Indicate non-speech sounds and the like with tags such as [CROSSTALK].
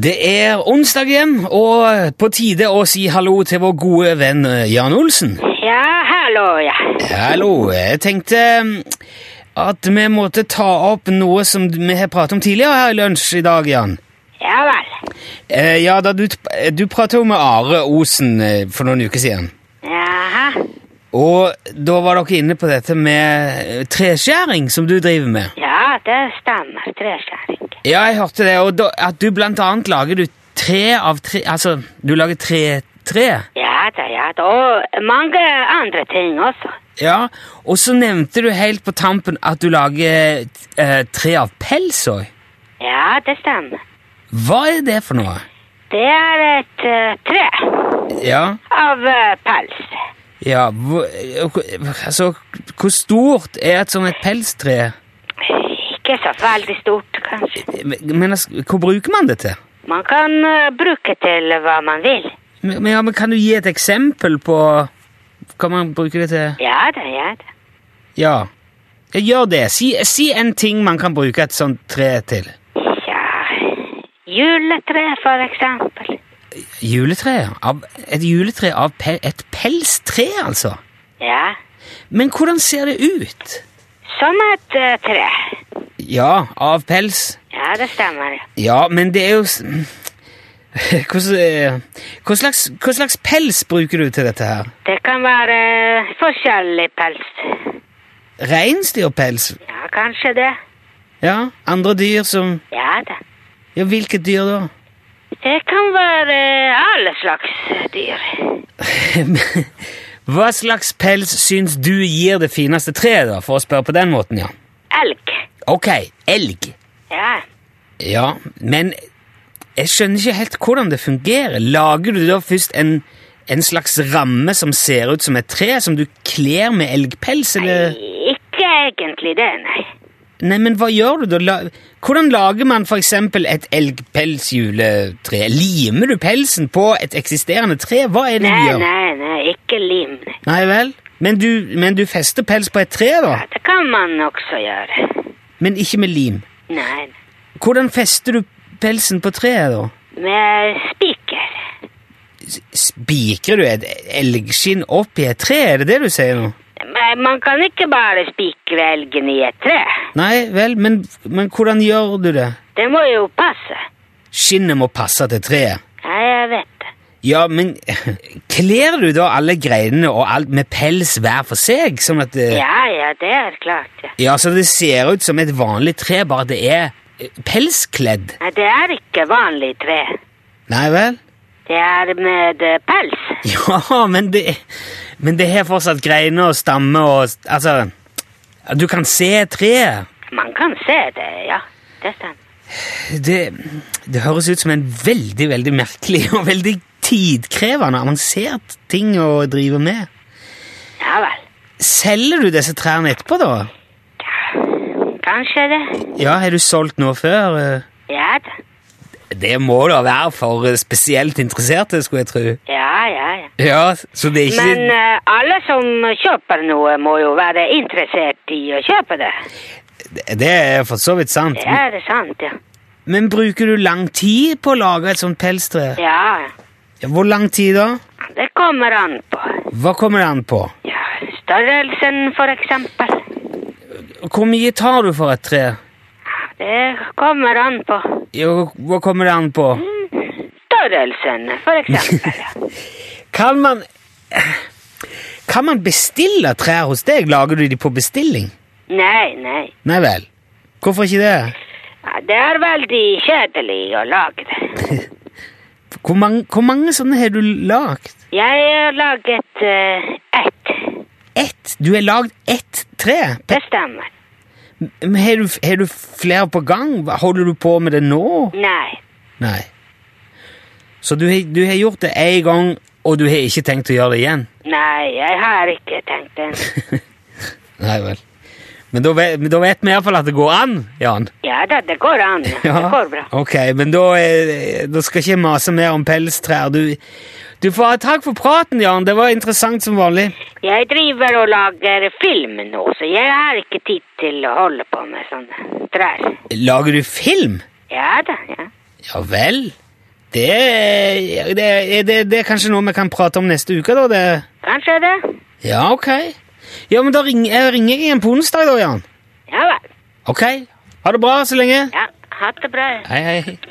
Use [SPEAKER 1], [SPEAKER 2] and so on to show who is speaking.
[SPEAKER 1] Det er onsdag igjen, og på tide å si hallo til vår gode venn eh, Jan Olsen.
[SPEAKER 2] Ja, hallo, ja.
[SPEAKER 1] Hallo. Jeg tenkte mm, at vi måtte ta opp noe som vi har pratet om tidligere her i lunsj i dag, Jan.
[SPEAKER 2] Ja vel.
[SPEAKER 1] Eh, ja, da du, du pratet jo med Are Osen eh, for noen uker siden.
[SPEAKER 2] Jaha.
[SPEAKER 1] Og da var dere inne på dette med eh, treskjæring som du driver med.
[SPEAKER 2] Ja, det stemmer. Treskjæring.
[SPEAKER 1] Ja, jeg hørte det, og da, at du blant annet lager du tre av tre Altså, du lager tre tre.
[SPEAKER 2] Ja da, ja da. Og mange andre ting også.
[SPEAKER 1] Ja, og så nevnte du helt på tampen at du lager eh, tre av pels òg.
[SPEAKER 2] Ja, det stemmer.
[SPEAKER 1] Hva er det for noe?
[SPEAKER 2] Det er et eh, tre
[SPEAKER 1] Ja,
[SPEAKER 2] av eh, pels.
[SPEAKER 1] ja hvor, Altså, hvor stort er et sånt et pelstre?
[SPEAKER 2] Ikke så veldig stort, kanskje.
[SPEAKER 1] Men altså, hvor bruker man det til?
[SPEAKER 2] Man kan eh, bruke til hva man vil.
[SPEAKER 1] Men, ja, men kan du gi et eksempel på hva man bruker det til?
[SPEAKER 2] Ja da, ja da.
[SPEAKER 1] Ja, Ja, gjør det. Si, si en ting man kan bruke et sånt tre til.
[SPEAKER 2] Ja, juletre for eksempel.
[SPEAKER 1] Juletre? Av, et juletre av pe, et pelstre, altså?
[SPEAKER 2] Ja,
[SPEAKER 1] Men hvordan ser det ut?
[SPEAKER 2] som et eh, tre.
[SPEAKER 1] Ja, av pels.
[SPEAKER 2] Ja, det stemmer.
[SPEAKER 1] Ja, men det er jo s- [LAUGHS] Hvordan, eh, hva, slags, hva slags pels bruker du til dette her?
[SPEAKER 2] Det kan være eh, forskjellig pels.
[SPEAKER 1] Reinsdyrpels?
[SPEAKER 2] Ja, kanskje det.
[SPEAKER 1] Ja, andre dyr som
[SPEAKER 2] Ja da.
[SPEAKER 1] Ja, hvilke dyr da? [LAUGHS]
[SPEAKER 2] Det kan være eh, alle slags dyr.
[SPEAKER 1] Hva slags pels syns du gir det fineste treet, da, for å spørre på den måten, ja?
[SPEAKER 2] Elg.
[SPEAKER 1] Ok, elg.
[SPEAKER 2] Ja.
[SPEAKER 1] Ja, men jeg skjønner ikke helt hvordan det fungerer. Lager du da først en, en slags ramme som ser ut som et tre, som du kler med elgpels, eller?
[SPEAKER 2] Ikke egentlig det, nei.
[SPEAKER 1] Nei, men hva gjør du da? La Hvordan lager man for eksempel et elgpelsjuletre? Limer du pelsen på et eksisterende tre? Hva er det
[SPEAKER 2] Nei,
[SPEAKER 1] du gjør?
[SPEAKER 2] nei, nei, ikke lim. nei.
[SPEAKER 1] Nei vel? Men du, men du fester pels på et tre, da?
[SPEAKER 2] Ja, det kan man også gjøre.
[SPEAKER 1] Men ikke med lim?
[SPEAKER 2] Nei, nei.
[SPEAKER 1] Hvordan fester du pelsen på treet, da?
[SPEAKER 2] med spiker.
[SPEAKER 1] Spikrer du et elgskinn opp i et tre? Er det det du sier nå?
[SPEAKER 2] Men man kan ikke bare spikre elgen i et tre.
[SPEAKER 1] Nei vel, men, men hvordan gjør du det?
[SPEAKER 2] Det må jo passe.
[SPEAKER 1] Skinnet må passe til treet.
[SPEAKER 2] Ja, jeg vet det.
[SPEAKER 1] Ja, men [LAUGHS] kler du da alle greinene og alt med pels hver for seg, sånn at det
[SPEAKER 2] Ja, ja, det er klart, ja.
[SPEAKER 1] Ja, så det ser ut som et vanlig tre, bare det er eh, pelskledd.
[SPEAKER 2] Nei, det er ikke vanlig tre.
[SPEAKER 1] Nei vel?
[SPEAKER 2] Det er med eh, pels.
[SPEAKER 1] Ja, men det, men det har fortsatt greiner og stamme og s- Altså, du kan se treet.
[SPEAKER 2] Man kan se det, ja. Det stemmer.
[SPEAKER 1] Det, det høres ut som en veldig, veldig merkelig og veldig tidkrevende, avansert ting å drive med.
[SPEAKER 2] Ja vel.
[SPEAKER 1] Selger du disse trærne etterpå, da?
[SPEAKER 2] Kanskje det.
[SPEAKER 1] Ja, har du solgt noe før? eh?
[SPEAKER 2] Ja da.
[SPEAKER 1] Det må da være for eh, spesielt interesserte, skulle jeg tro.
[SPEAKER 2] Ja, ja, ja.
[SPEAKER 1] Ja, så det er ikke
[SPEAKER 2] Men eh, alle som kjøper noe, må jo være interessert i å kjøpe det.
[SPEAKER 1] Det er for så vidt sant.
[SPEAKER 2] Det er sant, ja.
[SPEAKER 1] Men bruker du lang tid på å lage et sånt pelstre?
[SPEAKER 2] Ja,
[SPEAKER 1] Hvor lang tid da?
[SPEAKER 2] det kommer an på.
[SPEAKER 1] Hva kommer det an på?
[SPEAKER 2] Ja, størrelsen, for eksempel.
[SPEAKER 1] Hvor mye tar du for et tre?
[SPEAKER 2] Det kommer an på.
[SPEAKER 1] Jo, hva kommer det an på?
[SPEAKER 2] Størrelsen, for eksempel. ja.
[SPEAKER 1] Kan man Kan man bestille trær hos deg? Lager du de på bestilling?
[SPEAKER 2] Nei, nei.
[SPEAKER 1] Nei vel. Hvorfor ikke det?
[SPEAKER 2] Ja, Det er veldig kjedelig å lage det.
[SPEAKER 1] Hvor mange, hvor mange sånne har du lagd?
[SPEAKER 2] Jeg har laget eh, ett.
[SPEAKER 1] Ett? Du har lagd ett tre?
[SPEAKER 2] Det stemmer.
[SPEAKER 1] Men Har du, har du flere på gang? Hva- Holder du på med det nå?
[SPEAKER 2] Nei.
[SPEAKER 1] Nei. Så du, har- du har gjort det én gang, og du har ikke tenkt å gjøre det igjen?
[SPEAKER 2] Nei, jeg har ikke tenkt den.
[SPEAKER 1] Nei vel. Men da, ve- men da vet vi iallfall at det går an, Jan.
[SPEAKER 2] Ja da, det går an. Det går bra.
[SPEAKER 1] Ok, men da, eh, da skal jeg ikke mase mer om pelstrær. Du, du får ha takk for praten, Jan. Det var interessant som vanlig.
[SPEAKER 2] Jeg driver og lager film nå, så jeg har ikke tid til å holde på med sånne trær.
[SPEAKER 1] Lager du film?
[SPEAKER 2] Ja da, ja.
[SPEAKER 1] Ja vel. Det, er- det, er- det, det er kanskje noe vi kan prate om neste uke, da? det...
[SPEAKER 2] Kanskje det?
[SPEAKER 1] Ja, ok. Ja, men da ringer jeg, ringer jeg igjen på onsdag, da, Jan.
[SPEAKER 2] Ja vel.
[SPEAKER 1] Ok. Ha det bra så lenge.
[SPEAKER 2] Ja, ha det bra.
[SPEAKER 1] Hei, hei.